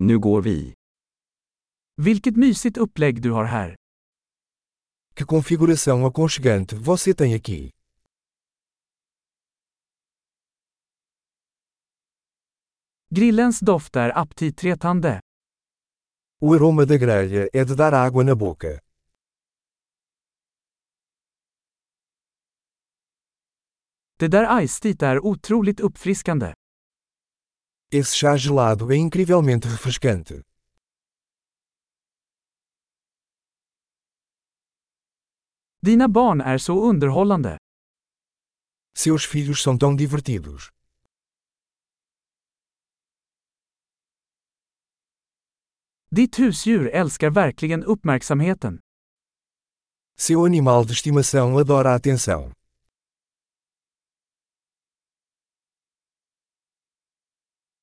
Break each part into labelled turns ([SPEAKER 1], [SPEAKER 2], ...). [SPEAKER 1] Nu går vi.
[SPEAKER 2] Vilket mysigt upplägg du har här.
[SPEAKER 3] Que configuração aconchegante você tem aqui.
[SPEAKER 2] Grillens doft är aptitretande.
[SPEAKER 3] O aroma da grelha é de dar água na boca.
[SPEAKER 2] Det där iced är otroligt uppfriskande.
[SPEAKER 3] Esse chá gelado é incrivelmente refrescante.
[SPEAKER 2] Dina barn är så underhållande.
[SPEAKER 3] Seus filhos são tão divertidos.
[SPEAKER 2] Ditt husdjur älskar verkligen uppmärksamheten.
[SPEAKER 3] Seu animal de estimação adora a atenção.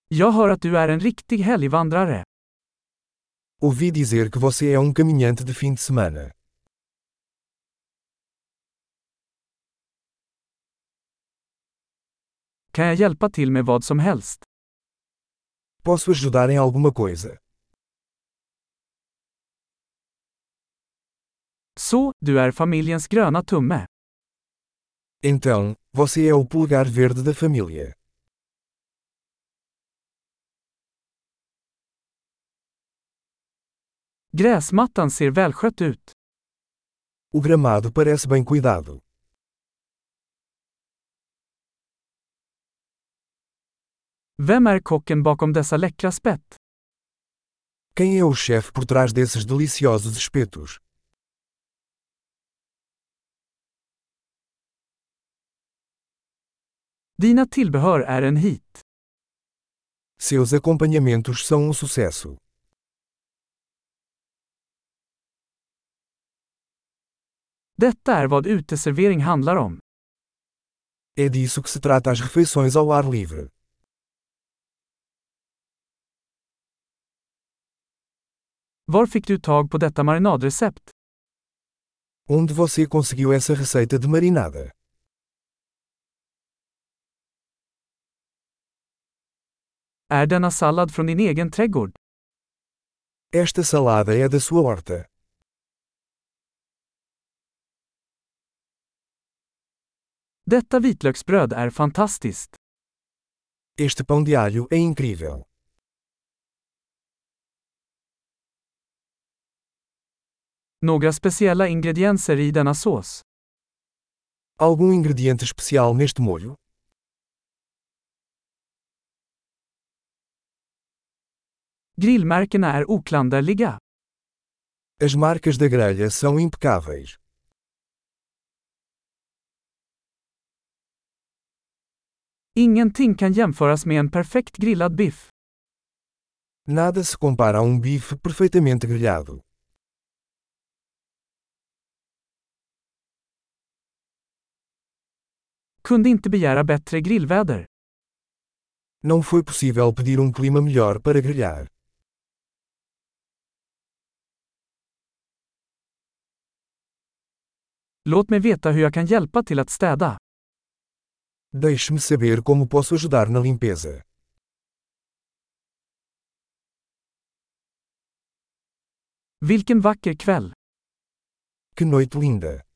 [SPEAKER 2] Jag hör att du är en riktig helgvandrare.
[SPEAKER 3] Ouvi dizer que você é um caminhante de fim de semana.
[SPEAKER 2] Kan jag hjälpa till med vad som helst?
[SPEAKER 3] Posso ajudar em alguma coisa?
[SPEAKER 2] Så, du är familjens gröna tumme.
[SPEAKER 3] Então, você é o polegar verde da família.
[SPEAKER 2] Gräsmattan ser välskött ut.
[SPEAKER 3] O gramado parece bem cuidado.
[SPEAKER 2] Vem är kocken bakom dessa läckra spett?
[SPEAKER 3] Quem é o chefe por trás desses deliciosos espetos?
[SPEAKER 2] Dina tillbehör är en hit.
[SPEAKER 3] Seus acompanhamentos são um sucesso.
[SPEAKER 2] Detta är vad uteservering handlar om.
[SPEAKER 3] É disso que se trata as refeições ao ar livre.
[SPEAKER 2] Var fick du tag på detta marinadrecept?
[SPEAKER 3] Onde você conseguiu essa receita de marinada?
[SPEAKER 2] Är denna sallad från din egen trädgård?
[SPEAKER 3] Esta salada é da sua horta.
[SPEAKER 2] Detta vitlöksbröd är fantastiskt.
[SPEAKER 3] Este pão de alho é incrível.
[SPEAKER 2] Några speciella ingredienser i denna sås.
[SPEAKER 3] Algum ingrediente especial neste molho?
[SPEAKER 2] Grillmärkena är oklanderliga.
[SPEAKER 3] As marcas da grelha são impecáveis.
[SPEAKER 2] Ingenting kan jämföras med en perfekt grillad biff.
[SPEAKER 3] Nada se compara a um bife perfeitamente grelhado.
[SPEAKER 2] Kunde inte begära bättre grillväder.
[SPEAKER 3] Não foi possível pedir um clima melhor para grelhar.
[SPEAKER 2] Låt mig veta hur jag kan hjälpa till att städa.
[SPEAKER 3] Deixe-me saber como posso ajudar na limpeza.
[SPEAKER 2] Vilken vacker kväll!
[SPEAKER 3] Que noite linda!